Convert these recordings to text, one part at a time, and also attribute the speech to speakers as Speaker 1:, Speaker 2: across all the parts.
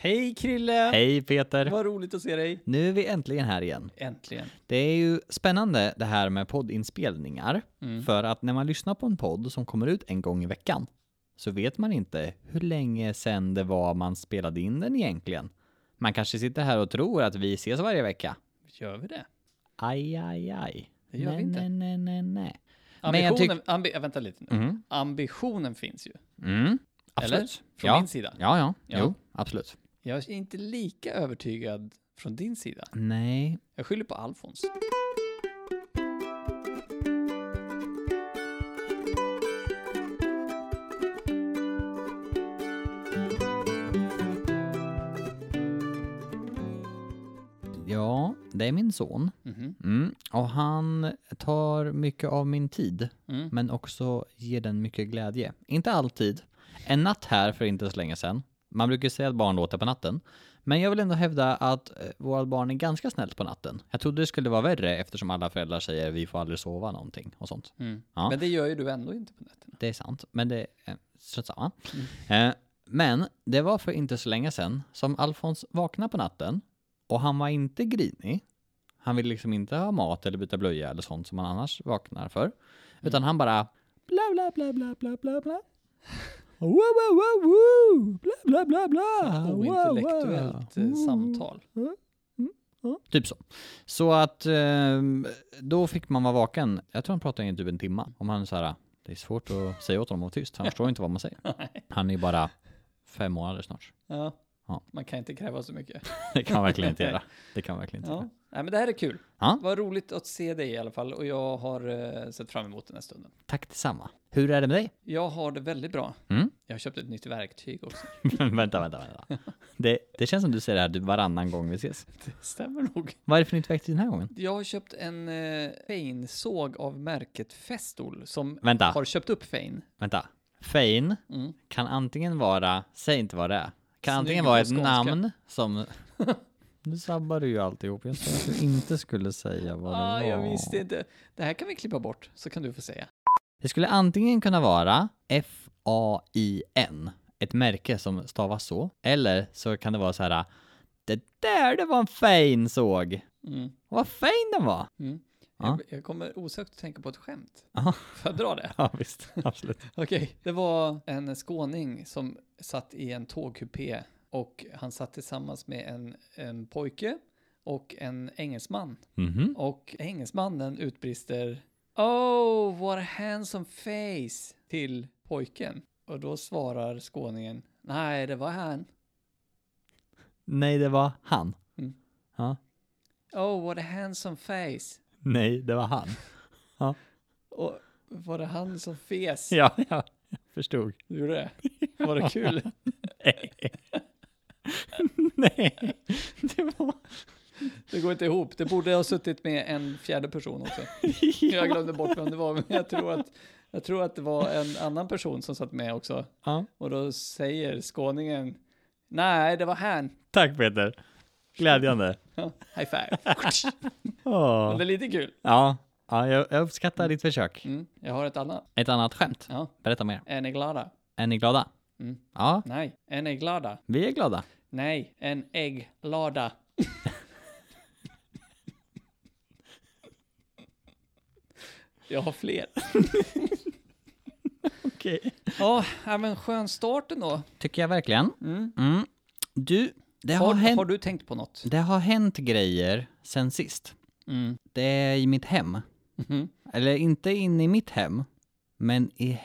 Speaker 1: Hej Krille!
Speaker 2: Hej Peter!
Speaker 1: Vad roligt att se dig.
Speaker 2: Nu är vi äntligen här igen.
Speaker 1: Äntligen.
Speaker 2: Det är ju spännande det här med poddinspelningar.
Speaker 1: Mm.
Speaker 2: För att när man lyssnar på en podd som kommer ut en gång i veckan så vet man inte hur länge sedan det var man spelade in den egentligen. Man kanske sitter här och tror att vi ses varje vecka.
Speaker 1: Gör vi det?
Speaker 2: Aj, aj, aj.
Speaker 1: Det gör vi
Speaker 2: nej,
Speaker 1: inte.
Speaker 2: nej, nej, nej, nej. Men jag
Speaker 1: Ambitionen, ambi, ja, vänta lite nu.
Speaker 2: Mm.
Speaker 1: Ambitionen finns ju.
Speaker 2: Mm, absolut.
Speaker 1: Eller? Från
Speaker 2: ja.
Speaker 1: min sida.
Speaker 2: Ja, ja,
Speaker 1: Ja.
Speaker 2: Jo, absolut.
Speaker 1: Jag är inte lika övertygad från din sida.
Speaker 2: Nej,
Speaker 1: Jag skyller på Alfons.
Speaker 2: ja, det är min son.
Speaker 1: Mhm.
Speaker 2: Mm. Och han tar mycket av min tid,
Speaker 1: Mm.
Speaker 2: men också ger den mycket glädje. Inte alltid. En natt här för inte så länge sedan. Man brukar säga att barn låter på natten. Men jag vill ändå hävda att eh, våra barn är ganska snällt på natten. Jag trodde det skulle vara värre eftersom alla föräldrar säger vi får aldrig sova någonting och sånt.
Speaker 1: Mm.
Speaker 2: Ja.
Speaker 1: Men det gör ju du ändå inte på nätterna.
Speaker 2: Det är sant, men det är strunt samma.
Speaker 1: Mm.
Speaker 2: Eh, men det var för inte så länge sedan som Alfons vaknade på natten och han var inte grinig. Han ville liksom inte ha mat eller byta blöja eller sånt som han annars vaknar för. Utan
Speaker 1: Mm.
Speaker 2: han bara bla bla bla bla bla bla bla. Wow, wow, wow, wow. Bla, bla, bla, bla. Ah, Wow, wow.
Speaker 1: Ointellektuellt eh, samtal.
Speaker 2: Typ så. Så att ehm, då fick man vara vaken. Jag tror han pratade i typ en timma. Om han så här, det är svårt att säga åt honom att vara tyst. Han förstår inte vad man säger. Han är ju bara fem månader snart.
Speaker 1: Ja.
Speaker 2: Ja.
Speaker 1: Man kan inte kräva så mycket.
Speaker 2: Det kan han verkligen inte göra. Det kan han verkligen inte
Speaker 1: Ja.
Speaker 2: göra.
Speaker 1: Nej, men det här är kul.
Speaker 2: Ja.
Speaker 1: Vad roligt att se dig i alla fall och jag har eh, sett fram emot den här stunden.
Speaker 2: Tack detsamma. Hur är det med dig?
Speaker 1: Jag har det väldigt bra.
Speaker 2: Mm?
Speaker 1: Jag har köpt ett nytt verktyg också.
Speaker 2: vänta, vänta, vänta. Det, det känns som du säger det här typ varannan gång vi ses.
Speaker 1: Det stämmer nog.
Speaker 2: Vad är det för nytt verktyg den här gången?
Speaker 1: Jag har köpt en eh, feinsåg av märket Festool som
Speaker 2: Vänta,
Speaker 1: har köpt upp fein.
Speaker 2: vänta. Fein
Speaker 1: Mm.
Speaker 2: kan antingen vara, säg inte vad det är, kan
Speaker 1: Snygg
Speaker 2: antingen
Speaker 1: på
Speaker 2: vara ett
Speaker 1: skånska.
Speaker 2: namn som... Nu sabbar du ju alltihop. Jag sa att du inte skulle säga vad det
Speaker 1: Ah,
Speaker 2: var.
Speaker 1: jag visste inte. Det här kan vi klippa bort så kan du få säga.
Speaker 2: Det skulle antingen kunna vara F-A-I-N, ett märke som stavas så, eller så kan det vara så här Det där, det var en fin såg!
Speaker 1: Mm.
Speaker 2: Vad fin den var!
Speaker 1: Mm.
Speaker 2: Ja.
Speaker 1: Jag, jag kommer osökt att tänka på ett skämt.
Speaker 2: Aha.
Speaker 1: Får jag dra det?
Speaker 2: Ja, visst. Absolut.
Speaker 1: Okej, det var en skåning som satt i en tågkupé och han satt tillsammans med en, en pojke och en engelsman.
Speaker 2: Mhm.
Speaker 1: Och engelsmannen utbrister Oh, what a handsome face till pojken. Och då svarar skåningen Nej, det var han.
Speaker 2: Nej, det var han.
Speaker 1: Mm.
Speaker 2: Ja.
Speaker 1: Oh, what a handsome face.
Speaker 2: Nej, det var han.
Speaker 1: Och var det han som fes?
Speaker 2: Ja, ja. Jag förstod.
Speaker 1: Du gjorde det? Var det kul?
Speaker 2: Nej. Nej. Det var...
Speaker 1: Det går inte ihop. Det borde ha suttit med en fjärde person också. Jag glömde bort vem det var, men jag tror att, jag tror att det var en annan person som satt med också.
Speaker 2: Ja.
Speaker 1: Och då säger skåningen Nej, det var han.
Speaker 2: Tack Peter. Glädjande.
Speaker 1: Ja, High five.
Speaker 2: Åh.
Speaker 1: Men det är lite kul.
Speaker 2: Ja, ja jag, jag uppskattar ditt försök.
Speaker 1: Mm, jag har ett annat.
Speaker 2: Ett annat skämt.
Speaker 1: Ja.
Speaker 2: Berätta mer.
Speaker 1: En är glada.
Speaker 2: Är ni glada?
Speaker 1: Mm.
Speaker 2: Ja,
Speaker 1: Nej, en är glada.
Speaker 2: vi är glada.
Speaker 1: Nej, en ägglada. jag har fler.
Speaker 2: Okej.
Speaker 1: Ja, ja, men skön start ändå.
Speaker 2: Tycker jag verkligen.
Speaker 1: Mm.
Speaker 2: Mm. Du, det har,
Speaker 1: Har,
Speaker 2: hänt,
Speaker 1: har du tänkt på något?
Speaker 2: det har hänt grejer sen sist.
Speaker 1: Mm.
Speaker 2: Det är i mitt hem.
Speaker 1: Mhm.
Speaker 2: Eller inte in i mitt hem, men i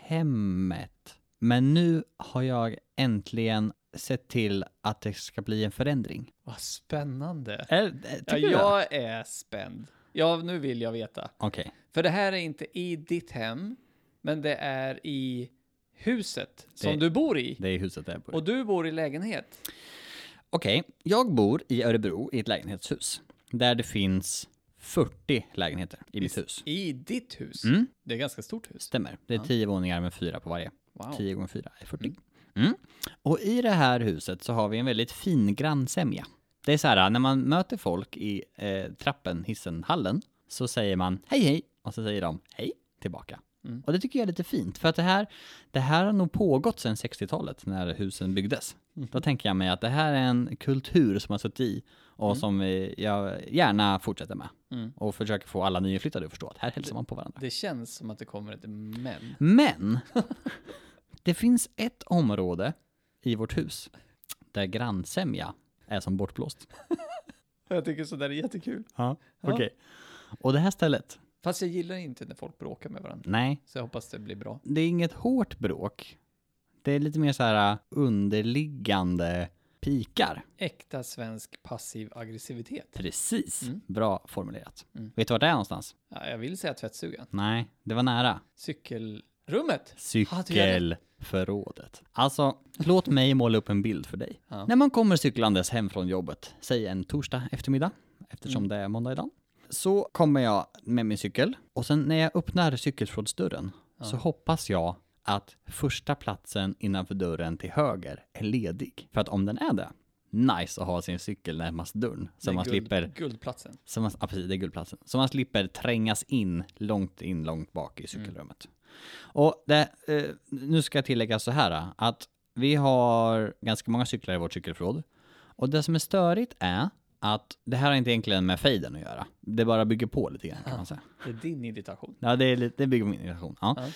Speaker 2: hemmet. Men nu har jag äntligen sett till att det ska bli en förändring.
Speaker 1: Vad spännande.
Speaker 2: Är, tycker
Speaker 1: Ja,
Speaker 2: du det?
Speaker 1: jag är spänd. Ja, nu vill jag veta.
Speaker 2: Okej.
Speaker 1: För det här är inte i ditt hem, men det är i huset
Speaker 2: Det-
Speaker 1: som du bor i.
Speaker 2: Det är huset där jag bor.
Speaker 1: Och du bor i lägenhet.
Speaker 2: Okej, jag bor i Örebro i ett lägenhetshus. Där det finns 40 lägenheter i mitt hus.
Speaker 1: I ditt hus.
Speaker 2: Mm.
Speaker 1: Det är ett ganska stort hus.
Speaker 2: Stämmer. Det är 10 våningar med fyra på varje.
Speaker 1: Wow.
Speaker 2: 10 gånger 4 är 40. Mm. Och i det här huset så har vi en väldigt fin grannsämja. Det är så här, när man möter folk i eh, trappen, hissen, hallen, så säger man hej hej och så säger de hej tillbaka.
Speaker 1: Mm.
Speaker 2: Och det tycker jag är lite fint, för att det här, det här har nog pågått sedan 60-talet när husen byggdes.
Speaker 1: Mm.
Speaker 2: Då tänker jag mig att det här är en kultur som har suttit i och som vi, jag gärna fortsätter med.
Speaker 1: Mm.
Speaker 2: Och försöker få alla nyinflyttade att förstå att här hälsar man på varandra.
Speaker 1: Det känns som att det kommer ett men.
Speaker 2: Men! det finns ett område i vårt hus där grannsämja är som bortblåst.
Speaker 1: Jag tycker sådär är jättekul.
Speaker 2: Ja,
Speaker 1: okej.
Speaker 2: Och det här stället,
Speaker 1: Fast jag gillar inte när folk bråkar med varandra.
Speaker 2: nej,
Speaker 1: Så jag hoppas det blir bra.
Speaker 2: det är inget hårt bråk. Det är lite mer så här äh, underliggande pikar.
Speaker 1: Äkta svensk passiv aggressivitet.
Speaker 2: Precis.
Speaker 1: Mm.
Speaker 2: Bra formulerat.
Speaker 1: Mm.
Speaker 2: Vet du vart det är någonstans?
Speaker 1: Ja, jag vill säga tvättstugan.
Speaker 2: Nej, det var nära.
Speaker 1: Cykelrummet. Ah, du gör
Speaker 2: Cykelförrådet. Alltså, låt mig måla upp en bild för dig.
Speaker 1: Ja.
Speaker 2: När man kommer cyklandes hem från jobbet, säg en torsdag eftermiddag, eftersom
Speaker 1: Mm.
Speaker 2: det är måndag idag, så kommer jag med min cykel och sen när jag öppnar cykelförrådsdörren så hoppas jag att första platsen innanför dörren till höger är ledig. För att om den är det, nice att ha sin cykel närmast dörren.
Speaker 1: Det
Speaker 2: Så
Speaker 1: är
Speaker 2: man slipper
Speaker 1: Guldplatsen.
Speaker 2: så man, ja, precis, det är guldplatsen. Så man slipper trängas in långt in, långt bak i cykelrummet. Och det, eh, nu ska jag tillägga så här eh, att vi har ganska många cyklar i vårt cykelförråd. Och det som är störigt är att det här har inte egentligen med fejden att göra. Det bara bygger på lite grann kan man säga.
Speaker 1: Det är din irritation.
Speaker 2: Ja, det, är lite, det bygger på min irritation. Ja.
Speaker 1: Ja.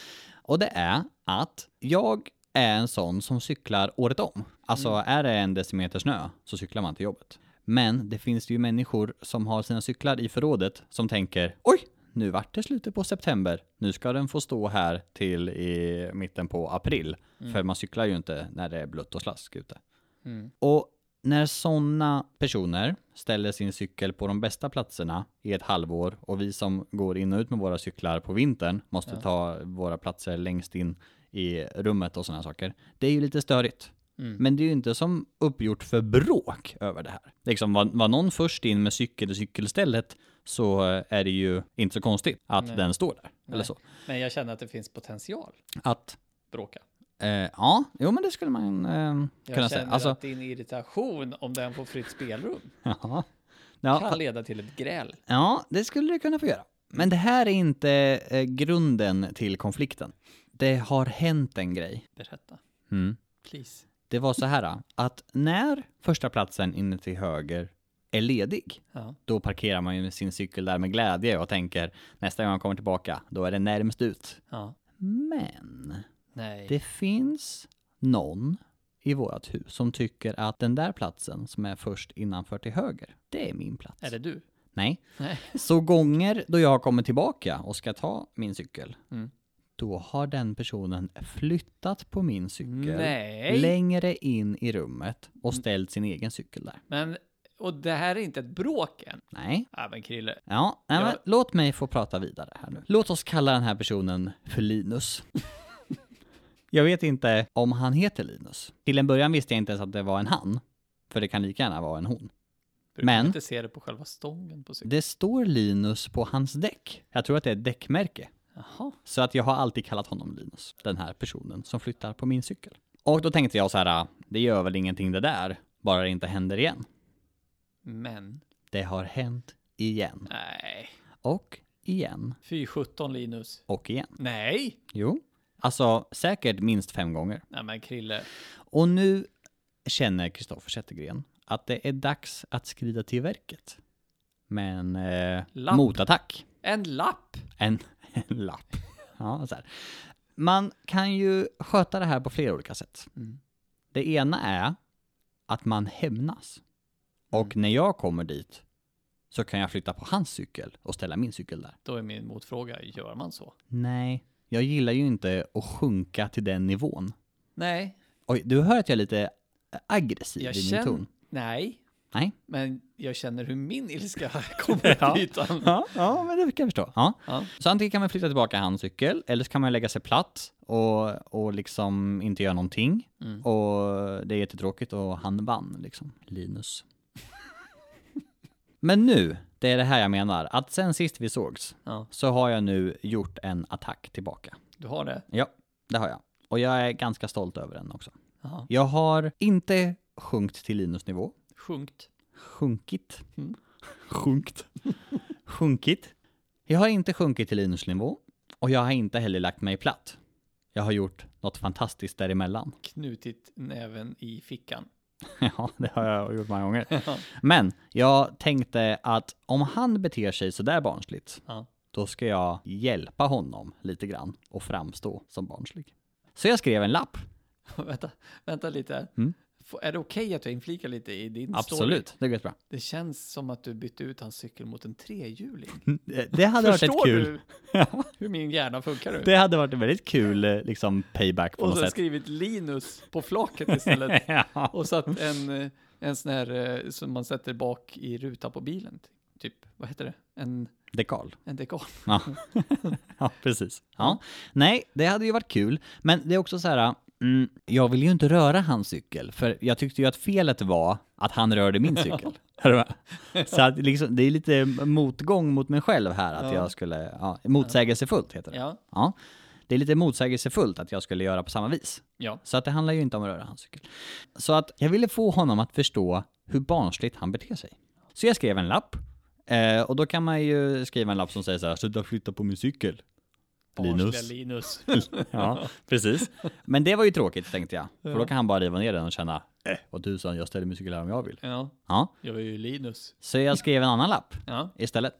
Speaker 2: Och det är att jag är en sån som cyklar året om. Alltså är det en decimeter snö så cyklar man till jobbet. Men det finns ju människor som har sina cyklar i förrådet som tänker oj, nu vart det slutet på september. Nu ska den få stå här till i mitten på april. För man cyklar ju inte när det är blött och slask ute.
Speaker 1: Mm.
Speaker 2: Och när sådana personer ställer sin cykel på de bästa platserna i ett halvår och vi som går in och ut med våra cyklar på vintern måste ta våra platser längst in i rummet och sådana saker. Det är ju lite störigt.
Speaker 1: Mm.
Speaker 2: Men det är ju inte som uppgjort för bråk över det här. Liksom var, var någon först in med cykel i cykelstället så eh, är det ju inte så konstigt att
Speaker 1: Nej.
Speaker 2: den står där. Eller
Speaker 1: Nej.
Speaker 2: så.
Speaker 1: Men jag känner att det finns potential
Speaker 2: Att,
Speaker 1: bråka.
Speaker 2: eh, ja, jo men det skulle man eh,
Speaker 1: Jag
Speaker 2: kunna säga.
Speaker 1: känner
Speaker 2: Alltså,
Speaker 1: att din irritation, om den får fritt spelrum,
Speaker 2: ja. Ja,
Speaker 1: kan leda till ett gräl.
Speaker 2: Ja, det skulle du kunna få göra. Men det här är inte eh, grunden till konflikten. Det har hänt en grej. Mm.
Speaker 1: Berätta, please.
Speaker 2: Det var så här ah, att när första platsen inne till höger är ledig,
Speaker 1: Ja.
Speaker 2: då parkerar man ju sin cykel där med glädje och tänker nästa gång jag kommer tillbaka, då är det närmst ut.
Speaker 1: ja.
Speaker 2: Men
Speaker 1: Nej.
Speaker 2: det finns någon i vårt hus som tycker att den där platsen som är först innanför till höger, det är min plats.
Speaker 1: Är det du?
Speaker 2: Nej.
Speaker 1: Nej.
Speaker 2: Så gånger då jag kommer tillbaka och ska ta min cykel,
Speaker 1: Mm.
Speaker 2: då har den personen flyttat på min cykel
Speaker 1: Nej.
Speaker 2: längre in i rummet och ställt sin egen cykel där.
Speaker 1: Men, och det här är inte ett bråk än.
Speaker 2: Nej.
Speaker 1: Ja, men Krille.
Speaker 2: Ja, nej, men
Speaker 1: Ja.
Speaker 2: låt mig få prata vidare här nu. Låt oss kalla den här personen för Linus. jag vet inte om han heter Linus. Till en början visste jag inte ens att det var en han, för det kan lika gärna vara en hon.
Speaker 1: Du
Speaker 2: Men-
Speaker 1: kan inte se det på själva stången på cykeln.
Speaker 2: Det står Linus på hans däck. Jag tror att det är ett däckmärke.
Speaker 1: Jaha.
Speaker 2: Så att jag har alltid kallat honom Linus, den här personen som flyttar på min cykel. Och då tänkte jag så här, det gör väl ingenting det där, bara det inte händer igen.
Speaker 1: Men.
Speaker 2: Det har hänt igen.
Speaker 1: Nej.
Speaker 2: Och igen.
Speaker 1: Fy 17 Linus.
Speaker 2: Och igen.
Speaker 1: Nej.
Speaker 2: Jo. Alltså säkert minst fem gånger.
Speaker 1: Nej men Krille.
Speaker 2: Och nu känner Kristoffer Zettergren att det är dags att skrida till verket. Men eh,
Speaker 1: Lapp.
Speaker 2: motattack.
Speaker 1: En lapp.
Speaker 2: En, en lapp. Ja, så här. Man kan ju sköta det här på flera olika sätt.
Speaker 1: Mm.
Speaker 2: Det ena är att man hämnas. Och när jag kommer dit så kan jag flytta på hans cykel och ställa min cykel där.
Speaker 1: Då är min motfråga, gör man så?
Speaker 2: Nej, jag gillar ju inte att sjunka till den nivån.
Speaker 1: Nej.
Speaker 2: Oj, du hör att jag är lite aggressiv
Speaker 1: Jag
Speaker 2: i min
Speaker 1: känner...
Speaker 2: ton.
Speaker 1: Nej.
Speaker 2: Nej.
Speaker 1: Men jag känner hur min ilska kommer
Speaker 2: Ja.
Speaker 1: till ytan.
Speaker 2: Ja, ja, men det kan jag förstå. Ja.
Speaker 1: Ja.
Speaker 2: Så antingen kan man flytta tillbaka hans cykel, eller så kan man lägga sig platt och, och liksom inte göra någonting.
Speaker 1: Mm.
Speaker 2: Och det är jättetråkigt och han vann liksom, Linus. Men nu, det är det här jag menar, att sen sist vi sågs
Speaker 1: Ja.
Speaker 2: så har jag nu gjort en attack tillbaka.
Speaker 1: Du har det?
Speaker 2: Ja, det har jag. Och jag är ganska stolt över den också.
Speaker 1: Jaha.
Speaker 2: Jag har inte sjunkit till Linus nivå.
Speaker 1: Sjunkt.
Speaker 2: Sjunkit.
Speaker 1: Mm.
Speaker 2: Sjunkt. sjunkit. Jag har inte sjunkit till Linus nivå. Och jag har inte heller lagt mig platt. Jag har gjort något fantastiskt däremellan.
Speaker 1: Knutit näven i fickan.
Speaker 2: Ja, det har jag gjort många gånger.
Speaker 1: Ja.
Speaker 2: Men jag tänkte att om han beter sig sådär barnsligt,
Speaker 1: Ja.
Speaker 2: då ska jag hjälpa honom lite grann och framstå som barnslig. Så jag skrev en lapp.
Speaker 1: vänta, vänta lite här.
Speaker 2: Mm.
Speaker 1: Får- Är det okej att jag inflikar lite i din story?
Speaker 2: Absolut, det går jättebra.
Speaker 1: Det känns som att du bytte ut hans cykel mot en trehjuling.
Speaker 2: Det- Det hade varit ett
Speaker 1: Förstår
Speaker 2: kul.
Speaker 1: du hur min hjärna funkar nu?
Speaker 2: Det hade varit en väldigt kul eh, liksom payback på
Speaker 1: och
Speaker 2: något
Speaker 1: så
Speaker 2: sätt.
Speaker 1: skrivit Linus på flaket istället.
Speaker 2: ja.
Speaker 1: och satt en, eh, en sån här eh, som man sätter bak i rutan på bilen. Typ, vad heter det? En,
Speaker 2: Dekal.
Speaker 1: en dekal.
Speaker 2: Ja. ja, precis. Ja. Nej, det hade ju varit kul. Men det är också så här, mm, jag vill ju inte röra hans cykel, för jag tyckte ju att felet var att han rörde min cykel. Är du med? så att liksom, det är lite motgång mot mig själv här, att
Speaker 1: Ja.
Speaker 2: jag skulle, ja, motsägelsefullt heter det.
Speaker 1: Ja,
Speaker 2: Ja. Det är lite motsägelsefullt att jag skulle göra på samma vis.
Speaker 1: ja.
Speaker 2: Så att det handlar ju inte om att röra hans cykel. Så att jag ville få honom att förstå hur barnsligt han beter sig. Så jag skrev en lapp. Eh, och då kan man ju skriva en lapp som säger så här, sluta flytta på min cykel.
Speaker 1: Barnsliga
Speaker 2: Linus.
Speaker 1: Linus.
Speaker 2: Ja, precis. Men det var ju tråkigt tänkte jag. För då kan han bara riva ner den och känna, eh, vad tusan, jag ställer min cykel här om jag vill.
Speaker 1: ja,
Speaker 2: Ja,
Speaker 1: jag är ju Linus.
Speaker 2: så jag skrev en annan lapp
Speaker 1: Ja.
Speaker 2: istället.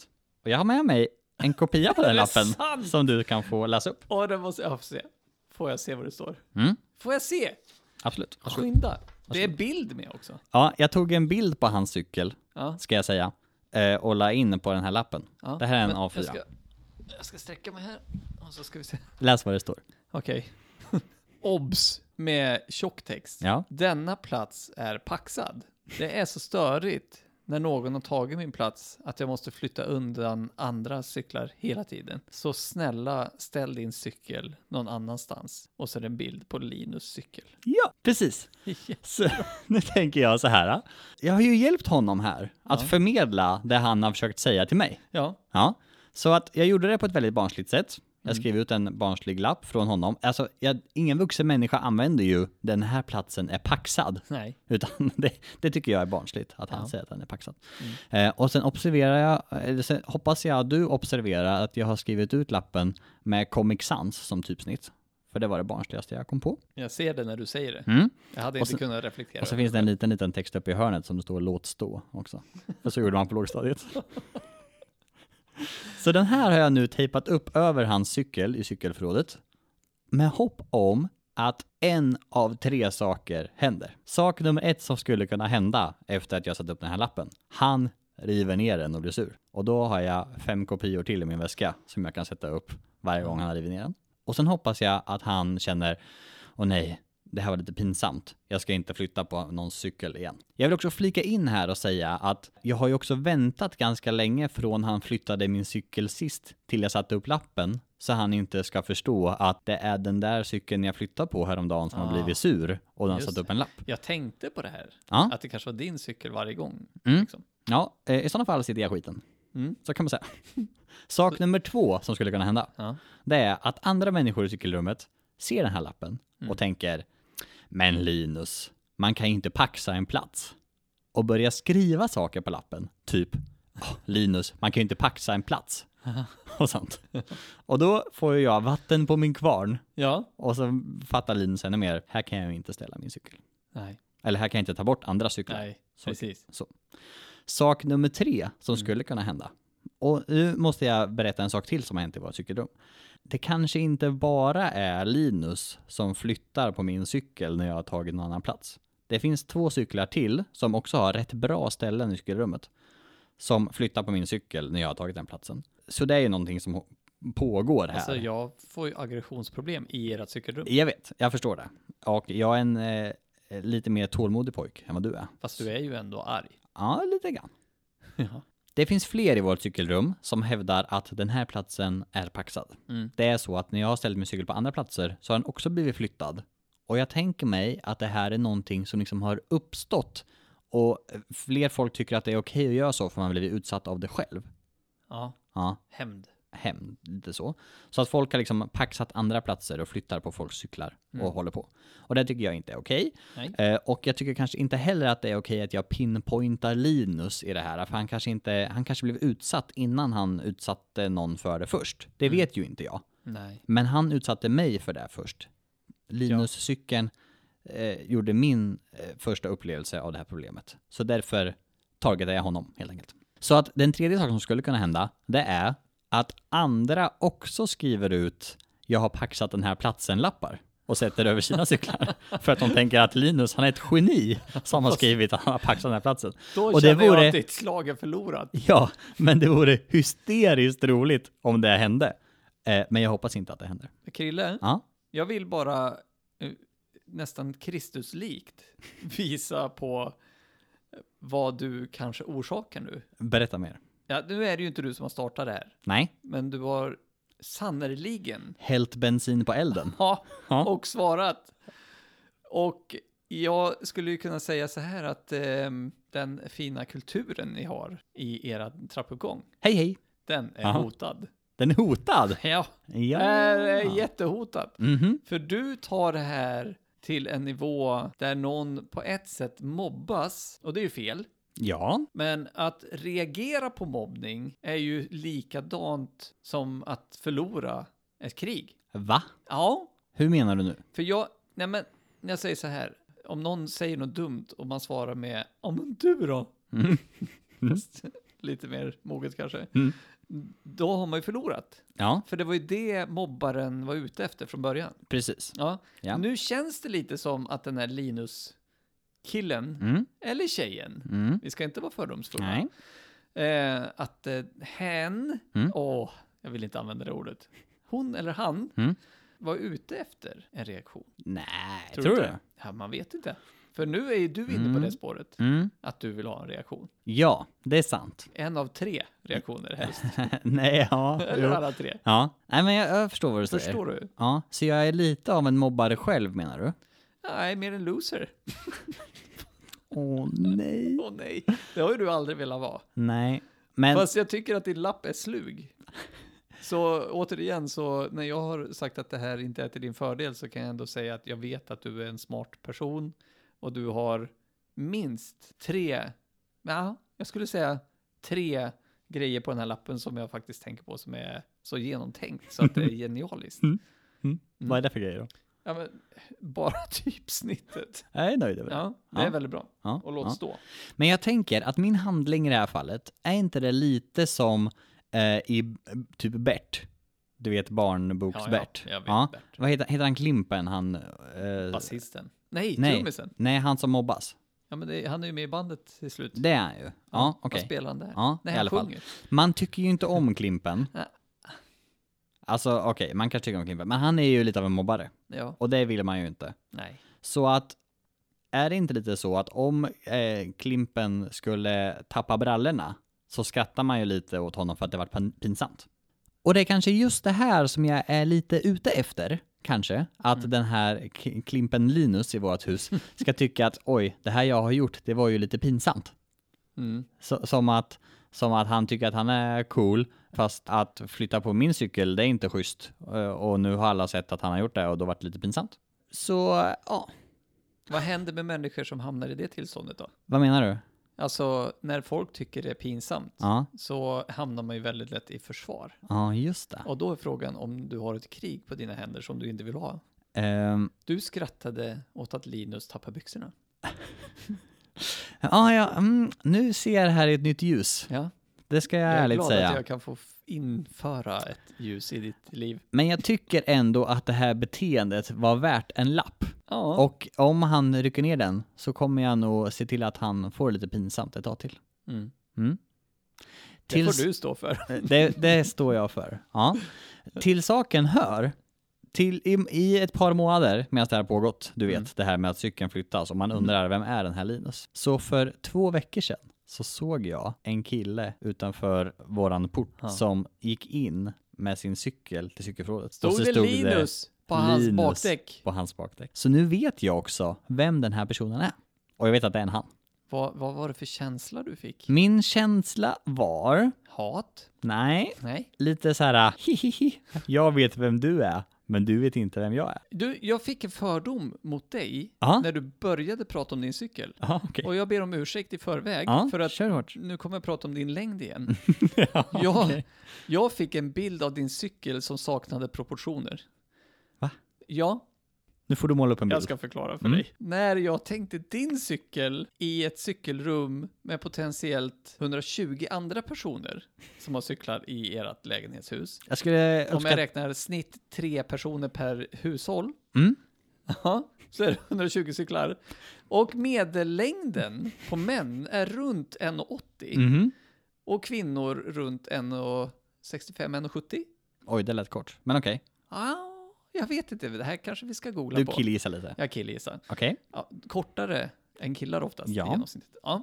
Speaker 2: Och jag har med mig en kopia på
Speaker 1: Är
Speaker 2: den
Speaker 1: det
Speaker 2: lappen
Speaker 1: sant?
Speaker 2: som du kan få läsa upp.
Speaker 1: Och den måste, jag får se. Får jag se vad det står?
Speaker 2: Mm.
Speaker 1: Får jag se?
Speaker 2: Absolut.
Speaker 1: Skynda. Det är bild med också.
Speaker 2: Ja, jag tog en bild på hans cykel
Speaker 1: Ja.
Speaker 2: ska jag säga, eh, och la in på den här lappen.
Speaker 1: ja.
Speaker 2: Det här är en
Speaker 1: Men
Speaker 2: A4.
Speaker 1: Jag ska, jag ska sträcka mig här och så ska vi se.
Speaker 2: Läs vad det står.
Speaker 1: Okej. Obs! Med tjocktext.
Speaker 2: Ja.
Speaker 1: Denna plats är paxad. Det är så störigt när någon har tagit min plats att jag måste flytta undan andra cyklar hela tiden. Så snälla ställ din cykel någon annanstans. Och så är det en bild på Linus cykel.
Speaker 2: Ja, precis. Så, nu tänker jag så här. Jag har ju hjälpt honom här att förmedla det han har försökt säga till mig.
Speaker 1: Ja,
Speaker 2: Ja, så att jag gjorde det på ett väldigt barnsligt sätt. Jag
Speaker 1: Mm.
Speaker 2: skrev ut en barnslig lapp från honom. Alltså, jag, ingen vuxen människa använder ju den här platsen är paxad.
Speaker 1: nej.
Speaker 2: Utan det, det tycker jag är barnsligt, att han säger att den är paxad. Eh, och sen observerar jag, eller sen hoppas jag att du observerar att jag har skrivit ut lappen med Comic Sans som typsnitt. För det var det barnsligaste jag kom på.
Speaker 1: Jag ser det när du säger det.
Speaker 2: Mm.
Speaker 1: Jag hade
Speaker 2: Och
Speaker 1: inte
Speaker 2: så-
Speaker 1: kunnat reflektera.
Speaker 2: Och så
Speaker 1: över
Speaker 2: finns det en liten, liten text uppe i hörnet som det står låt stå också. Och så gjorde man på lågstadiet. Så den här har jag nu tejpat upp över hans cykel i cykelförrådet. Med hopp om att en av tre saker händer. Sak nummer ett som skulle kunna hända efter att jag satt upp den här lappen. Han river ner den och blir sur. Och då har jag fem kopior till i min väska som jag kan sätta upp varje gång han river ner den. Och sen hoppas jag att han känner, åh nej, det här var lite pinsamt. Jag ska inte flytta på någon cykel igen. Jag vill också flika in här och säga att jag har ju också väntat ganska länge från han flyttade min cykel sist till jag satte upp lappen så han inte ska förstå att det är den där cykeln jag flyttade på häromdagen som har
Speaker 1: Ah.
Speaker 2: blivit sur och den har
Speaker 1: Just
Speaker 2: satt
Speaker 1: det.
Speaker 2: upp en lapp.
Speaker 1: det. Jag tänkte på det här.
Speaker 2: Ja.
Speaker 1: Att det kanske var din cykel varje gång.
Speaker 2: Mm.
Speaker 1: Liksom.
Speaker 2: Ja, eh, i sådana fall sitter jag i skiten.
Speaker 1: Mm.
Speaker 2: Så kan man säga. Sak nummer två som skulle kunna hända,
Speaker 1: Ja.
Speaker 2: det är att andra människor i cykelrummet ser den här lappen
Speaker 1: Mm.
Speaker 2: och tänker Men Linus, man kan ju inte paxa en plats. Och börjar skriva saker på lappen, typ "Åh, Linus, man kan ju inte paxa en plats. Och sånt. Och då får ju jag vatten på min kvarn
Speaker 1: ja.
Speaker 2: och så fattar Linus ännu mer, här kan jag ju inte ställa min cykel.
Speaker 1: Nej,
Speaker 2: Eller här kan jag inte ta bort andra cyklar.
Speaker 1: nej,
Speaker 2: Så-
Speaker 1: precis.
Speaker 2: Sak nummer tre som
Speaker 1: Mm.
Speaker 2: skulle kunna hända. Och nu måste jag berätta en sak till som har hänt i vårt cykelrum. Det kanske inte bara är Linus som flyttar på min cykel när jag har tagit någon annan plats. Det finns två cyklar till som också har rätt bra ställen i cykelrummet. Som flyttar på min cykel när jag har tagit den platsen. Så det är ju någonting som pågår här.
Speaker 1: Alltså jag får ju aggressionsproblem i ert cykelrum.
Speaker 2: Jag vet, jag förstår det. Och jag är en eh, lite mer tålmodig pojk än vad du är.
Speaker 1: Fast du är ju ändå arg.
Speaker 2: Ja, lite grann.
Speaker 1: Ja.
Speaker 2: Det finns fler i vårt cykelrum som hävdar att den här platsen är paxad.
Speaker 1: Mm.
Speaker 2: Det är så att när jag har ställt min cykel på andra platser så har den också blivit flyttad. Och jag tänker mig att det här är någonting som liksom har uppstått och fler folk tycker att det är okej att göra så för man har blivit utsatt av det själv.
Speaker 1: ja.
Speaker 2: Ja,
Speaker 1: Hämnd.
Speaker 2: hem, lite så. Så att folk har liksom paxat andra platser och flyttar på folks cyklar och håller på. Och det tycker jag inte är okej.
Speaker 1: Nej.
Speaker 2: Eh, och jag tycker kanske inte heller att det är okej att jag pinpointar Linus i det här, för han kanske, inte, han kanske blev utsatt innan han utsatte någon för det först. Det vet ju inte jag.
Speaker 1: Nej.
Speaker 2: Men han utsatte mig för det här först. Linus-cykeln eh, gjorde min eh, första upplevelse av det här problemet. Så därför targetade jag honom helt enkelt. Så att den tredje saken som skulle kunna hända, det är att andra också skriver ut “Jag har paxat den här platsen”-lappar och sätter över sina cyklar. för att de tänker att Linus, han är ett geni som har skrivit att han har paxat den här platsen.
Speaker 1: Då
Speaker 2: Och det
Speaker 1: känner jag
Speaker 2: vore-
Speaker 1: att ditt slag är förlorat.
Speaker 2: Ja, men det vore hysteriskt roligt om det hände. Eh, men jag hoppas inte att det händer.
Speaker 1: Krille,
Speaker 2: Ja.
Speaker 1: jag vill bara eh, nästan Kristuslikt visa på vad du kanske orsakar nu.
Speaker 2: Berätta mer.
Speaker 1: Ja, nu är det ju inte du som har startat det här,
Speaker 2: Nej,
Speaker 1: men du har sannerligen
Speaker 2: hällt bensin på elden.
Speaker 1: ja,
Speaker 2: Ja.
Speaker 1: och svarat. Och jag skulle ju kunna säga så här att eh, den fina kulturen ni har i era trappuppgång,
Speaker 2: Hej hej!
Speaker 1: den är
Speaker 2: Aha.
Speaker 1: hotad.
Speaker 2: Den är hotad!
Speaker 1: Ja,
Speaker 2: Eh, Ja!
Speaker 1: är är jättehotad.
Speaker 2: Mhm.
Speaker 1: För du tar det här till en nivå där någon på ett sätt mobbas, och det är ju fel,
Speaker 2: Ja,
Speaker 1: men att reagera på mobbning är ju likadant som att förlora ett krig.
Speaker 2: va?
Speaker 1: Ja,
Speaker 2: Hur menar du nu?
Speaker 1: för jag, nej men, när jag säger så här, om någon säger något dumt och man svarar med ja men du då? Fast Lite mer moget kanske.
Speaker 2: Mm.
Speaker 1: Då har man ju förlorat.
Speaker 2: Ja,
Speaker 1: För det var ju det mobbaren var ute efter från början.
Speaker 2: precis.
Speaker 1: Ja.
Speaker 2: Ja.
Speaker 1: Nu känns det lite som att den här Linus-killen,
Speaker 2: Mm.
Speaker 1: eller tjejen,
Speaker 2: Mm.
Speaker 1: vi ska inte vara fördomsfulla,
Speaker 2: Nej.
Speaker 1: eh, att eh, hen,
Speaker 2: Mm.
Speaker 1: åh, jag vill inte använda det ordet, hon eller han
Speaker 2: Mm.
Speaker 1: var ute efter en reaktion.
Speaker 2: Nej,
Speaker 1: Tror
Speaker 2: tror
Speaker 1: du
Speaker 2: du?
Speaker 1: inte? Ja, man vet inte. För nu är ju du inne på
Speaker 2: Mm.
Speaker 1: det spåret,
Speaker 2: Mm.
Speaker 1: att du vill ha en reaktion.
Speaker 2: Ja, det är sant.
Speaker 1: En av tre reaktioner helst,
Speaker 2: Nej, ja.
Speaker 1: eller
Speaker 2: Jo.
Speaker 1: alla tre.
Speaker 2: Ja, nej men jag, jag förstår vad du säger.
Speaker 1: Förstår du?
Speaker 2: Ja, så jag är lite av en mobbare själv menar du?
Speaker 1: Nej, mer en loser.
Speaker 2: Åh nej.
Speaker 1: Åh nej, det har ju du aldrig velat vara.
Speaker 2: Nej, men
Speaker 1: Fast jag tycker att din lapp är slug. Så återigen, så när jag har sagt att det här inte är till din fördel så kan jag ändå säga att jag vet att du är en smart person och du har minst tre, ja, jag skulle säga tre grejer på den här lappen som jag faktiskt tänker på som är så genomtänkt så att det är genialiskt.
Speaker 2: Mm. vad är det för grejer då?
Speaker 1: Ja, men, bara typsnittet.
Speaker 2: Jag är nöjd över det.
Speaker 1: Ja, det är
Speaker 2: Ja.
Speaker 1: väldigt bra.
Speaker 2: Ja,
Speaker 1: Och låt
Speaker 2: ja.
Speaker 1: stå.
Speaker 2: Men jag tänker att min handling i det här fallet, är inte det lite som eh, i eh, typ Bert? Du vet
Speaker 1: Ja,
Speaker 2: barnboks-Bert.
Speaker 1: ja, jag vet Bert.
Speaker 2: Vad heter, heter han Klimpen, han... Eh,
Speaker 1: Basisten. Nej,
Speaker 2: Nej.
Speaker 1: trummisen.
Speaker 2: nej, han som mobbas.
Speaker 1: Ja, men det, han är ju med i bandet till slut.
Speaker 2: Det är han ju. Ja, okej.
Speaker 1: Vad spelar han där?
Speaker 2: Ja,
Speaker 1: Nej,
Speaker 2: i
Speaker 1: han
Speaker 2: alla fall.
Speaker 1: sjunger.
Speaker 2: Man tycker ju inte om Klimpen.
Speaker 1: Nej.
Speaker 2: Alltså okej, man kanske tycker om Klimpen, men han är ju lite av en mobbare.
Speaker 1: Ja,
Speaker 2: Och det vill man ju inte.
Speaker 1: nej.
Speaker 2: Så att, är det inte lite så att om eh, Klimpen skulle tappa brallorna så skrattar man ju lite åt honom för att det varit pan- pinsamt. Och det är kanske just det här som jag är lite ute efter, kanske. Att den här K- Klimpen Linus i vårt hus ska tycka att oj, det här jag har gjort, det var ju lite pinsamt.
Speaker 1: Mm.
Speaker 2: Så, som, att, som att han tycker att han är cool, fast att flytta på min cykel, det är inte schysst. Eh, Och nu har alla sett att han har gjort det och då vart det lite pinsamt. Så, ja.
Speaker 1: Vad händer med människor som hamnar i det tillståndet då?
Speaker 2: Vad menar du?
Speaker 1: Alltså, när folk tycker det är pinsamt
Speaker 2: Ja,
Speaker 1: så hamnar man ju väldigt lätt i försvar.
Speaker 2: ja just det.
Speaker 1: Och då är frågan om du har ett krig på dina händer som du inte vill ha.
Speaker 2: Ehm,
Speaker 1: Du skrattade åt att Linus tappade byxorna.
Speaker 2: ja, ja, mm, nu ser jag det här i ett nytt ljus.
Speaker 1: Ja,
Speaker 2: Det ska jag,
Speaker 1: jag är
Speaker 2: ärligt
Speaker 1: glad
Speaker 2: säga.
Speaker 1: att jag kan få f- införa ett ljus i ditt liv.
Speaker 2: Men jag tycker ändå att det här beteendet var värt en lapp.
Speaker 1: Ja,
Speaker 2: Och om han rycker ner den så kommer jag nog se till att han får lite pinsamt ett tag till.
Speaker 1: mm.
Speaker 2: Mm.
Speaker 1: det får du stå för.
Speaker 2: det, det står jag för. Ja. Till saken hör, till, i, i ett par månader medan det här har pågått, du vet
Speaker 1: Mm.
Speaker 2: det här med att cykeln flyttas och man undrar vem är den här Linus? Så för två veckor sedan så såg jag en kille utanför våran port
Speaker 1: Ja.
Speaker 2: som gick in med sin cykel till cykelförrådet. Och
Speaker 1: Stod
Speaker 2: så
Speaker 1: det Linus på hans
Speaker 2: Linus.
Speaker 1: bakdäck?
Speaker 2: på hans bakdäck. Så nu vet jag också vem den här personen är. Och jag vet att det är en han.
Speaker 1: Vad, vad var det för känsla du fick?
Speaker 2: Min känsla var,
Speaker 1: Hat?
Speaker 2: nej,
Speaker 1: Nej.
Speaker 2: lite så här hihihi, jag vet vem du är, Men du vet inte vem jag är.
Speaker 1: Du, jag fick en fördom mot dig
Speaker 2: Ja,
Speaker 1: när du började prata om din cykel.
Speaker 2: ja okej.
Speaker 1: Och jag ber om ursäkt i förväg
Speaker 2: Ja,
Speaker 1: för att
Speaker 2: kör hårt.
Speaker 1: nu kommer jag prata om din längd igen.
Speaker 2: ja,
Speaker 1: Jag,
Speaker 2: okej.
Speaker 1: jag fick en bild av din cykel som saknade proportioner.
Speaker 2: Va?
Speaker 1: Ja,
Speaker 2: Nu får du måla upp en bild.
Speaker 1: jag ska förklara för
Speaker 2: Mm.
Speaker 1: dig. När jag tänkte din cykel i ett cykelrum med potentiellt 120 andra personer som har cyklar i ert lägenhetshus.
Speaker 2: Jag skulle
Speaker 1: Om jag
Speaker 2: uppskatta...
Speaker 1: räknar snitt tre personer per hushåll.
Speaker 2: Mm?
Speaker 1: Ja, så är det 120 cyklar. Och medellängden på män är runt 1,80 Mm.
Speaker 2: Mhm.
Speaker 1: och kvinnor runt 1,65-1,70.
Speaker 2: Oj, det lät kort. Men okej,
Speaker 1: Ja, jag vet inte, det här kanske vi ska googla
Speaker 2: du
Speaker 1: på.
Speaker 2: killgissar lite.
Speaker 1: Jag killgissar.
Speaker 2: Okej.
Speaker 1: Ja, kortare än killar oftast
Speaker 2: Ja.
Speaker 1: i genomsnittet. Ja.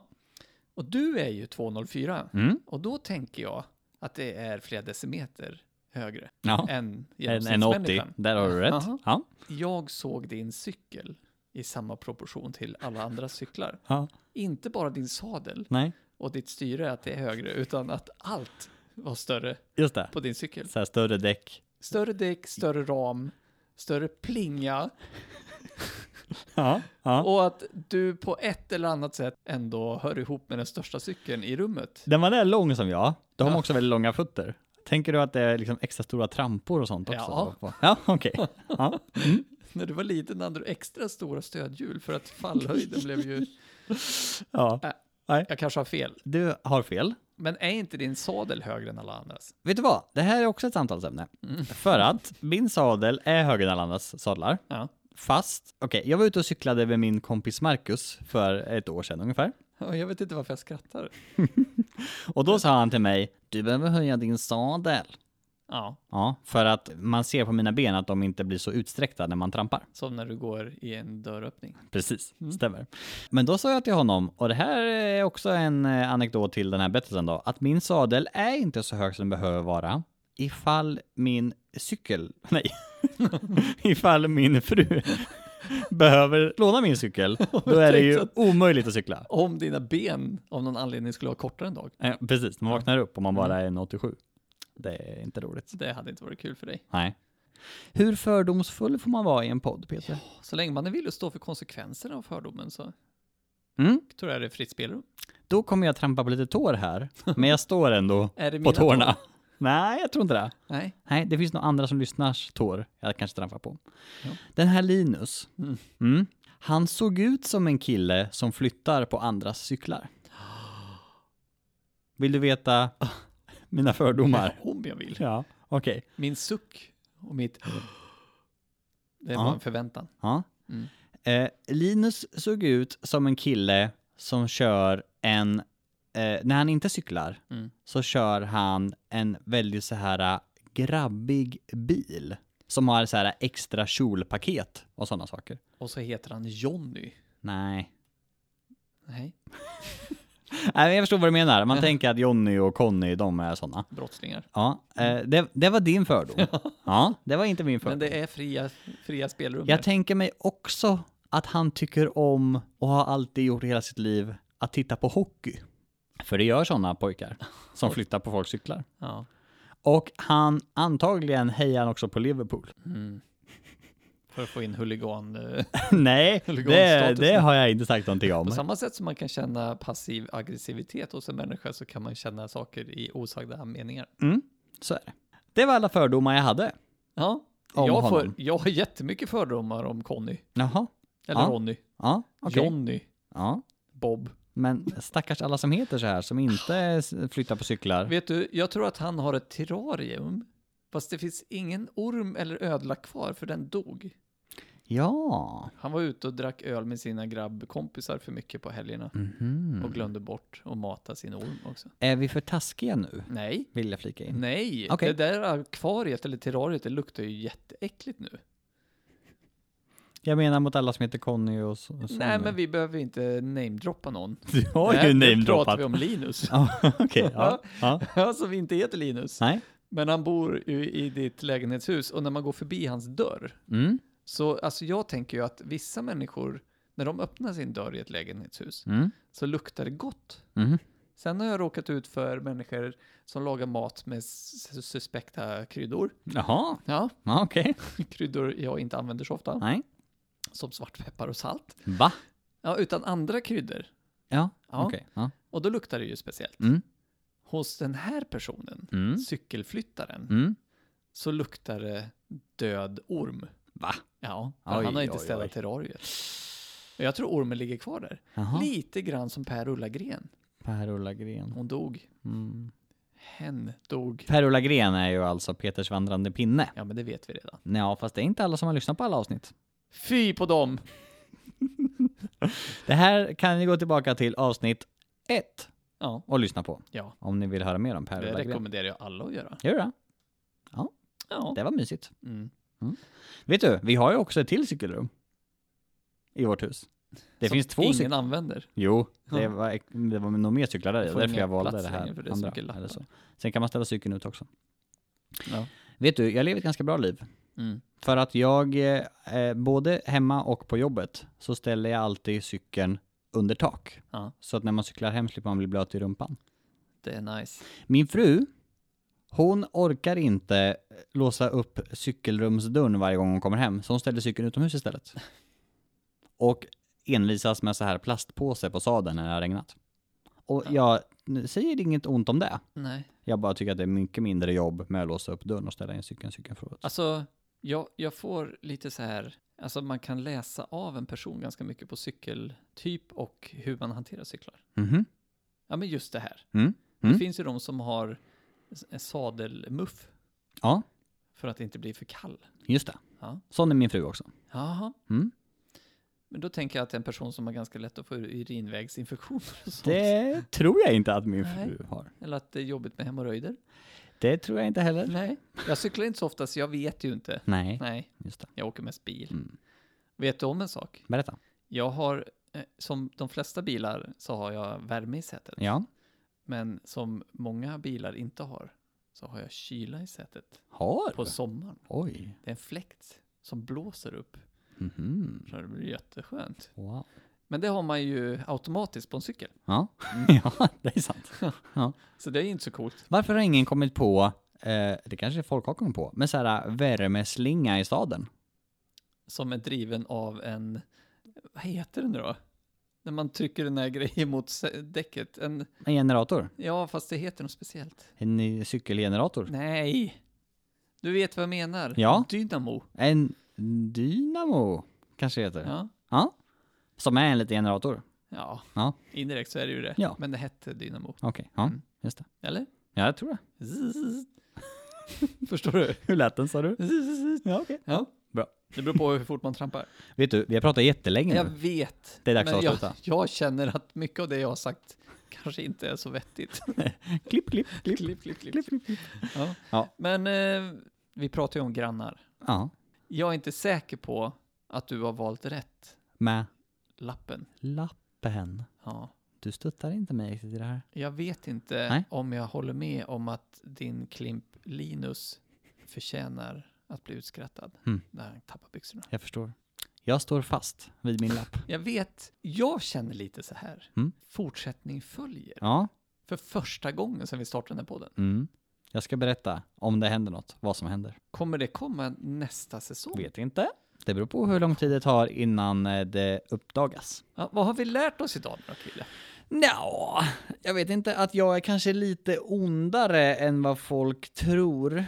Speaker 1: Och du är ju 2,04
Speaker 2: Mm.
Speaker 1: och då tänker jag att det är flera decimeter högre
Speaker 2: Ja.
Speaker 1: än
Speaker 2: En, en 80,
Speaker 1: genomsnittsmänniskan.
Speaker 2: där har du rätt.
Speaker 1: Jaha.
Speaker 2: Ja.
Speaker 1: Jag såg din cykel i samma proportion till alla andra cyklar.
Speaker 2: ja.
Speaker 1: Inte bara din sadel
Speaker 2: Nej,
Speaker 1: och ditt styre att det är högre, utan att allt var större
Speaker 2: just det.
Speaker 1: på din cykel.
Speaker 2: Så här större däck.
Speaker 1: Större däck, större ram, större plinga
Speaker 2: Ja. ja.
Speaker 1: och att du på ett eller annat sätt ändå hör ihop med den största cykeln i rummet.
Speaker 2: Den var där lång som jag. Då har man
Speaker 1: Ja.
Speaker 2: också väldigt långa fötter. Tänker du att det är liksom extra stora trampor och sånt också?
Speaker 1: Ja.
Speaker 2: då? Ja, okej. Ja.
Speaker 1: När du var liten hade du extra stora stödhjul för att fallhöjden blev ju...
Speaker 2: ja.
Speaker 1: Jag kanske har fel,
Speaker 2: Du har fel.
Speaker 1: men är inte din sadel högre än alla andras?
Speaker 2: Vet du vad? Det här är också ett samtalsämne. För att min sadel är högre än alla andras sadlar.
Speaker 1: Ja.
Speaker 2: Fast, okej, jag var ute och cyklade med min kompis Marcus för ett år sedan ungefär.
Speaker 1: Ja, Jag vet inte varför jag skrattar.
Speaker 2: Och då sa han till mig, du behöver höja din sadel.
Speaker 1: Ja,
Speaker 2: Ja, för att man ser på mina ben att de inte blir så utsträckta när man trampar.
Speaker 1: som när du går i en dörröppning.
Speaker 2: Precis, stämmer. Men då sa jag till honom, och det här är också en eh, anekdot till den här berättelsen då, att min sadel är inte så hög som den behöver vara ifall min cykel, nej, ifall min fru behöver låna min cykel, då är det
Speaker 1: tänkte
Speaker 2: ju
Speaker 1: att-
Speaker 2: omöjligt att cykla.
Speaker 1: Om dina ben av någon anledning skulle vara kortare en dag.
Speaker 2: Eh, Precis, man vaknar upp om man bara är 87. Det är inte roligt.
Speaker 1: Det hade inte varit kul för dig.
Speaker 2: Nej. Hur fördomsfull får man vara i en podd, Peter?
Speaker 1: Så länge man är villig att stå för konsekvenserna av fördomen så
Speaker 2: Mm?
Speaker 1: tror jag det är fritt spelrum.
Speaker 2: Då kommer jag trampa på lite tår här, men jag står ändå
Speaker 1: Är det
Speaker 2: på
Speaker 1: mina
Speaker 2: tårna. Nej, jag tror inte det.
Speaker 1: Nej.
Speaker 2: Nej, det finns nog andra som lyssnars tår jag kanske trampar på.
Speaker 1: Ja.
Speaker 2: Den här Linus,
Speaker 1: Mm.
Speaker 2: mm, han såg ut som en kille som flyttar på andras cyklar. Vill du veta mina fördomar?
Speaker 1: Om jag vill.
Speaker 2: Ja, okej.
Speaker 1: Min suck och mitt... Det var
Speaker 2: Ja.
Speaker 1: en förväntan.
Speaker 2: Ja.
Speaker 1: Mm.
Speaker 2: Eh, Linus såg ut som en kille som kör en, eh, när han inte cyklar,
Speaker 1: Mm.
Speaker 2: så kör han en väldigt så här eh, grabbig bil. Som har så här eh, extra kjolpaket och sådana saker.
Speaker 1: Och så heter han Jonny.
Speaker 2: Nej.
Speaker 1: Nej,
Speaker 2: Nej, men jag förstår vad du menar. Man tänker att Jonny och Conny, de är sådana.
Speaker 1: brottslingar.
Speaker 2: Ja, eh, det, det var din fördom. Ja, det var inte min fördom.
Speaker 1: Men det är fria, fria spelrum.
Speaker 2: Jag tänker mig också att han tycker om, och har alltid gjort i hela sitt liv, att titta på hockey. För det gör sådana pojkar som flyttar på folks cyklar.
Speaker 1: ja.
Speaker 2: Och han, antagligen hejar han också på Liverpool.
Speaker 1: mm. För att få in huligan. eh,
Speaker 2: Nej, det,
Speaker 1: Huliganstatus.
Speaker 2: det har jag inte sagt någonting
Speaker 1: På
Speaker 2: om.
Speaker 1: samma sätt som man kan känna passiv aggressivitet hos en människa så kan man känna saker i osagda meningar.
Speaker 2: Mm, så är det. Det var alla fördomar jag hade.
Speaker 1: Ja,
Speaker 2: Om
Speaker 1: jag, får,
Speaker 2: honom.
Speaker 1: jag har jättemycket fördomar om Conny.
Speaker 2: Jaha.
Speaker 1: Eller
Speaker 2: Ja,
Speaker 1: Ronny.
Speaker 2: Ja, okej.
Speaker 1: Johnny.
Speaker 2: Ja.
Speaker 1: Bob.
Speaker 2: Men stackars alla som heter så här, som inte s- flyttar på cyklar.
Speaker 1: Vet du, jag tror att han har ett terrarium. Fast det finns ingen orm eller ödla kvar för den dog.
Speaker 2: Ja.
Speaker 1: Han var ute och drack öl med sina grabbkompisar för mycket på helgerna.
Speaker 2: Mhm.
Speaker 1: Och glömde bort att mata sin orm också.
Speaker 2: Är vi för taskiga nu?
Speaker 1: Nej.
Speaker 2: Vill jag flika in.
Speaker 1: Nej,
Speaker 2: Okej.
Speaker 1: det där akvariet eller terrariet det luktar ju jätteäckligt nu.
Speaker 2: Jag menar mot alla som heter Conny och så. och så-
Speaker 1: Nej, men vi behöver inte namedroppa någon.
Speaker 2: Du har
Speaker 1: Nej,
Speaker 2: ju
Speaker 1: nu pratar
Speaker 2: namedroppat.
Speaker 1: vi om Linus.
Speaker 2: Ja, okej. Ja, ja.
Speaker 1: Ja, som inte heter Linus.
Speaker 2: Nej.
Speaker 1: Men han bor ju i ditt lägenhetshus och när man går förbi hans dörr
Speaker 2: Mm.
Speaker 1: så alltså jag tänker ju att vissa människor när de öppnar sin dörr i ett lägenhetshus
Speaker 2: Mm.
Speaker 1: så luktar det gott.
Speaker 2: Mm.
Speaker 1: Sen har jag råkat ut för människor som lagar mat med s- suspekta kryddor.
Speaker 2: Jaha,
Speaker 1: Ja,
Speaker 2: ja, okej.
Speaker 1: kryddor jag inte använder så ofta,
Speaker 2: Nej.
Speaker 1: som svartpeppar och salt.
Speaker 2: Va?
Speaker 1: Ja, utan andra kryddor.
Speaker 2: Ja,
Speaker 1: Ja.
Speaker 2: okej. Ja.
Speaker 1: Och då luktar det ju speciellt.
Speaker 2: Mm.
Speaker 1: Hos den här personen,
Speaker 2: Mm.
Speaker 1: cykelflyttaren,
Speaker 2: Mm.
Speaker 1: så luktar det död orm.
Speaker 2: Va?
Speaker 1: Ja, för
Speaker 2: Oj,
Speaker 1: han har inte
Speaker 2: oj,
Speaker 1: städat
Speaker 2: oj.
Speaker 1: terrariet. Och Jag tror ormen ligger kvar där.
Speaker 2: Jaha.
Speaker 1: Lite grann som Per Ullagren.
Speaker 2: Per-Ola Gren.
Speaker 1: Hon dog.
Speaker 2: Mm.
Speaker 1: Hen dog.
Speaker 2: Per-Ola Gren är ju alltså Peters vandrande pinne.
Speaker 1: Ja, men det vet vi redan.
Speaker 2: Ja, fast det är inte alla som har lyssnat på alla avsnitt.
Speaker 1: Fy på dem!
Speaker 2: Det här kan ni gå tillbaka till avsnitt ett
Speaker 1: Ja,
Speaker 2: och lyssna på.
Speaker 1: Ja.
Speaker 2: Om ni vill höra mer om
Speaker 1: det
Speaker 2: Per-Ola Gren.
Speaker 1: rekommenderar jag alla att göra.
Speaker 2: Gör det?
Speaker 1: Ja.
Speaker 2: Det var mysigt.
Speaker 1: Mm.
Speaker 2: Vet du, vi har ju också ett till cykelrum. I vårt hus. Det
Speaker 1: Som
Speaker 2: finns två
Speaker 1: Ingen
Speaker 2: cyklar.
Speaker 1: använder.
Speaker 2: Jo, det
Speaker 1: Ja.
Speaker 2: var, det var nog mer cyklar där i.
Speaker 1: Får
Speaker 2: Därför
Speaker 1: ingen
Speaker 2: jag valde
Speaker 1: plats
Speaker 2: det här
Speaker 1: längre för det är så mycket
Speaker 2: andra.
Speaker 1: lappar.
Speaker 2: Eller så. Sen kan man ställa cykeln ut också.
Speaker 1: Ja.
Speaker 2: Vet du, jag lever ett ganska bra liv.
Speaker 1: Mm.
Speaker 2: För att jag, eh, eh, både hemma och på jobbet, så ställer jag alltid cykeln under tak.
Speaker 1: Ja.
Speaker 2: Så att när man cyklar hem slipper man bli blöt i rumpan.
Speaker 1: Det är nice.
Speaker 2: Min fru, hon orkar inte låsa upp cykelrumsdörren varje gång hon kommer hem, så hon ställer cykeln utomhus istället. Och envisas med så här plastpåse på sadeln när det har regnat. Och jag säger inget ont om det.
Speaker 1: Nej.
Speaker 2: Jag bara tycker att det är mycket mindre jobb med att låsa upp dörren och ställa in cykeln i cykelförrådet.
Speaker 1: Alltså, jag, jag får lite så här, alltså man kan läsa av en person ganska mycket på cykeltyp och hur man hanterar cyklar.
Speaker 2: Mhm.
Speaker 1: Ja, men just det här.
Speaker 2: Mm.
Speaker 1: Det
Speaker 2: Mm.
Speaker 1: finns ju de som har s- en sadelmuff
Speaker 2: Ja,
Speaker 1: för att inte bli för kall.
Speaker 2: just det.
Speaker 1: Ja.
Speaker 2: Sån är min fru också.
Speaker 1: Jaha.
Speaker 2: Mm.
Speaker 1: Men då tänker jag att det är en person som har ganska lätt att få urinvägsinfektioner och sånt.
Speaker 2: Det tror jag inte att min
Speaker 1: Nej.
Speaker 2: fru har.
Speaker 1: Eller att det är jobbigt med hemorrojder.
Speaker 2: Det tror jag inte heller.
Speaker 1: Nej. Jag cyklar inte så ofta så jag vet ju inte.
Speaker 2: Nej,
Speaker 1: Nej,
Speaker 2: just det.
Speaker 1: jag åker mest bil.
Speaker 2: Mm.
Speaker 1: Vet du om en sak?
Speaker 2: Berätta.
Speaker 1: Jag har, eh, som de flesta bilar, så har jag värme i sätet.
Speaker 2: Ja.
Speaker 1: Men som många bilar inte har, så har jag kyla i sätet
Speaker 2: Har
Speaker 1: på sommaren.
Speaker 2: Oj.
Speaker 1: Det är en fläkt som blåser upp,
Speaker 2: Mhm.
Speaker 1: så det blir jätteskönt.
Speaker 2: Wow.
Speaker 1: Men det har man ju automatiskt på en cykel,
Speaker 2: Ja. ja, det är sant.
Speaker 1: så det är ju inte så coolt.
Speaker 2: Varför har ingen kommit på, eh, det kanske folk har kommit på, men så här eh, värmeslinga i staden?
Speaker 1: Som är driven av en, vad heter det nu då? När man trycker den här grejen mot sä- däcket. En,
Speaker 2: En generator?
Speaker 1: ja, fast det heter något speciellt.
Speaker 2: En ny cykelgenerator?
Speaker 1: Nej! Du vet vad jag menar.
Speaker 2: Ja.
Speaker 1: Dynamo.
Speaker 2: En dynamo, kanske heter. det.
Speaker 1: Ja.
Speaker 2: Som är en liten generator?
Speaker 1: Ja.
Speaker 2: Ja.
Speaker 1: indirekt så är det ju det.
Speaker 2: Ja.
Speaker 1: Men det hette Dynamo.
Speaker 2: Okej, ja,
Speaker 1: Mm.
Speaker 2: just det.
Speaker 1: Eller?
Speaker 2: Ja, jag tror det.
Speaker 1: Zzz. Förstår du?
Speaker 2: Hur lät den sa du?
Speaker 1: Zzz.
Speaker 2: Ja, okej.
Speaker 1: Ja.
Speaker 2: Bra.
Speaker 1: Det beror på hur fort man trampar.
Speaker 2: Vet du, vi har pratat jättelänge
Speaker 1: Jag
Speaker 2: nu.
Speaker 1: vet.
Speaker 2: Det är dags
Speaker 1: men
Speaker 2: att
Speaker 1: jag,
Speaker 2: avsluta.
Speaker 1: jag känner att mycket av det jag har sagt kanske inte är så vettigt.
Speaker 2: Klipp, klipp, klipp.
Speaker 1: klipp, klipp, klipp. Ja.
Speaker 2: Ja.
Speaker 1: Men eh, vi pratar ju om grannar.
Speaker 2: Ja,
Speaker 1: Jag är inte säker på att du har valt rätt
Speaker 2: med
Speaker 1: lappen.
Speaker 2: lappen.
Speaker 1: Ja.
Speaker 2: Du stöttar inte mig riktigt i det här.
Speaker 1: Jag vet inte
Speaker 2: Nej.
Speaker 1: om jag håller med om att din Klimp Linus förtjänar att bli utskrattad
Speaker 2: Mm.
Speaker 1: när han tappar byxorna.
Speaker 2: Jag förstår. Jag står fast vid min lapp.
Speaker 1: Jag vet, jag känner lite så här.
Speaker 2: Mm.
Speaker 1: Fortsättning följer.
Speaker 2: Ja.
Speaker 1: För första gången sedan vi startade den här podden.
Speaker 2: Mm. Jag ska berätta om det händer något, vad som händer.
Speaker 1: Kommer det komma nästa säsong?
Speaker 2: Vet inte. Det beror på hur lång tid det tar innan eh, det uppdagas.
Speaker 1: Ja, vad har vi lärt oss idag då, Kille?
Speaker 2: Nja, jag vet inte att jag är kanske lite ondare än vad folk tror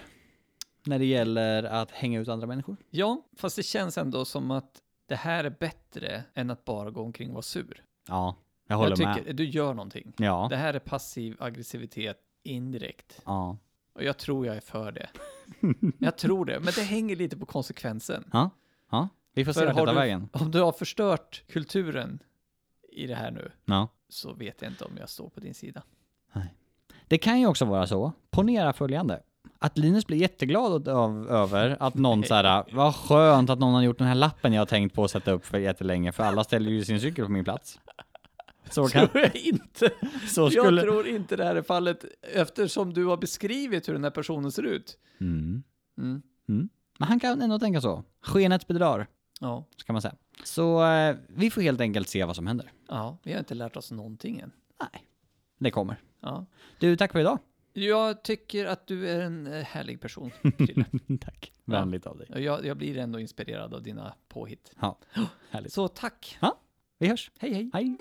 Speaker 2: när det gäller att hänga ut andra människor.
Speaker 1: Ja, fast det känns ändå som att det här är bättre än att bara gå omkring och vara sur.
Speaker 2: Ja, jag håller
Speaker 1: jag
Speaker 2: med.
Speaker 1: tycker, du gör någonting.
Speaker 2: Ja.
Speaker 1: Det här är passiv aggressivitet indirekt.
Speaker 2: ja.
Speaker 1: Och jag tror jag är för det. jag tror det, men det hänger lite på konsekvensen.
Speaker 2: Ja. ja. Vi får se
Speaker 1: För
Speaker 2: vart
Speaker 1: har
Speaker 2: det tar
Speaker 1: du-
Speaker 2: vägen.
Speaker 1: Om du har förstört kulturen i det här nu
Speaker 2: Ja.
Speaker 1: så vet jag inte om jag står på din sida.
Speaker 2: Det kan ju också vara så, ponera följande, att Linus blir jätteglad av, över att någon så här, vad skönt att någon har gjort den här lappen jag har tänkt på att sätta upp för jättelänge, för alla ställer ju sin cykel på min plats. Så, kan,
Speaker 1: Tror jag inte.
Speaker 2: så
Speaker 1: Jag
Speaker 2: skulle...
Speaker 1: tror inte det här är fallet eftersom du har beskrivit hur den här personen ser ut.
Speaker 2: Mm. Men han kan ändå tänka så. Skenet bedrar,
Speaker 1: Ja.
Speaker 2: ska man säga. Så eh, vi får helt enkelt se vad som händer.
Speaker 1: ja, vi har inte lärt oss någonting än.
Speaker 2: Nej. Det kommer.
Speaker 1: Ja.
Speaker 2: Du, tack för idag.
Speaker 1: Jag tycker att du är en eh, härlig person, Krille.
Speaker 2: tack. Vänligt av dig.
Speaker 1: jag, jag blir ändå inspirerad av dina påhitt.
Speaker 2: Ja, härligt.
Speaker 1: Så tack!
Speaker 2: Vi hörs.
Speaker 1: Hej hej!
Speaker 2: Hej.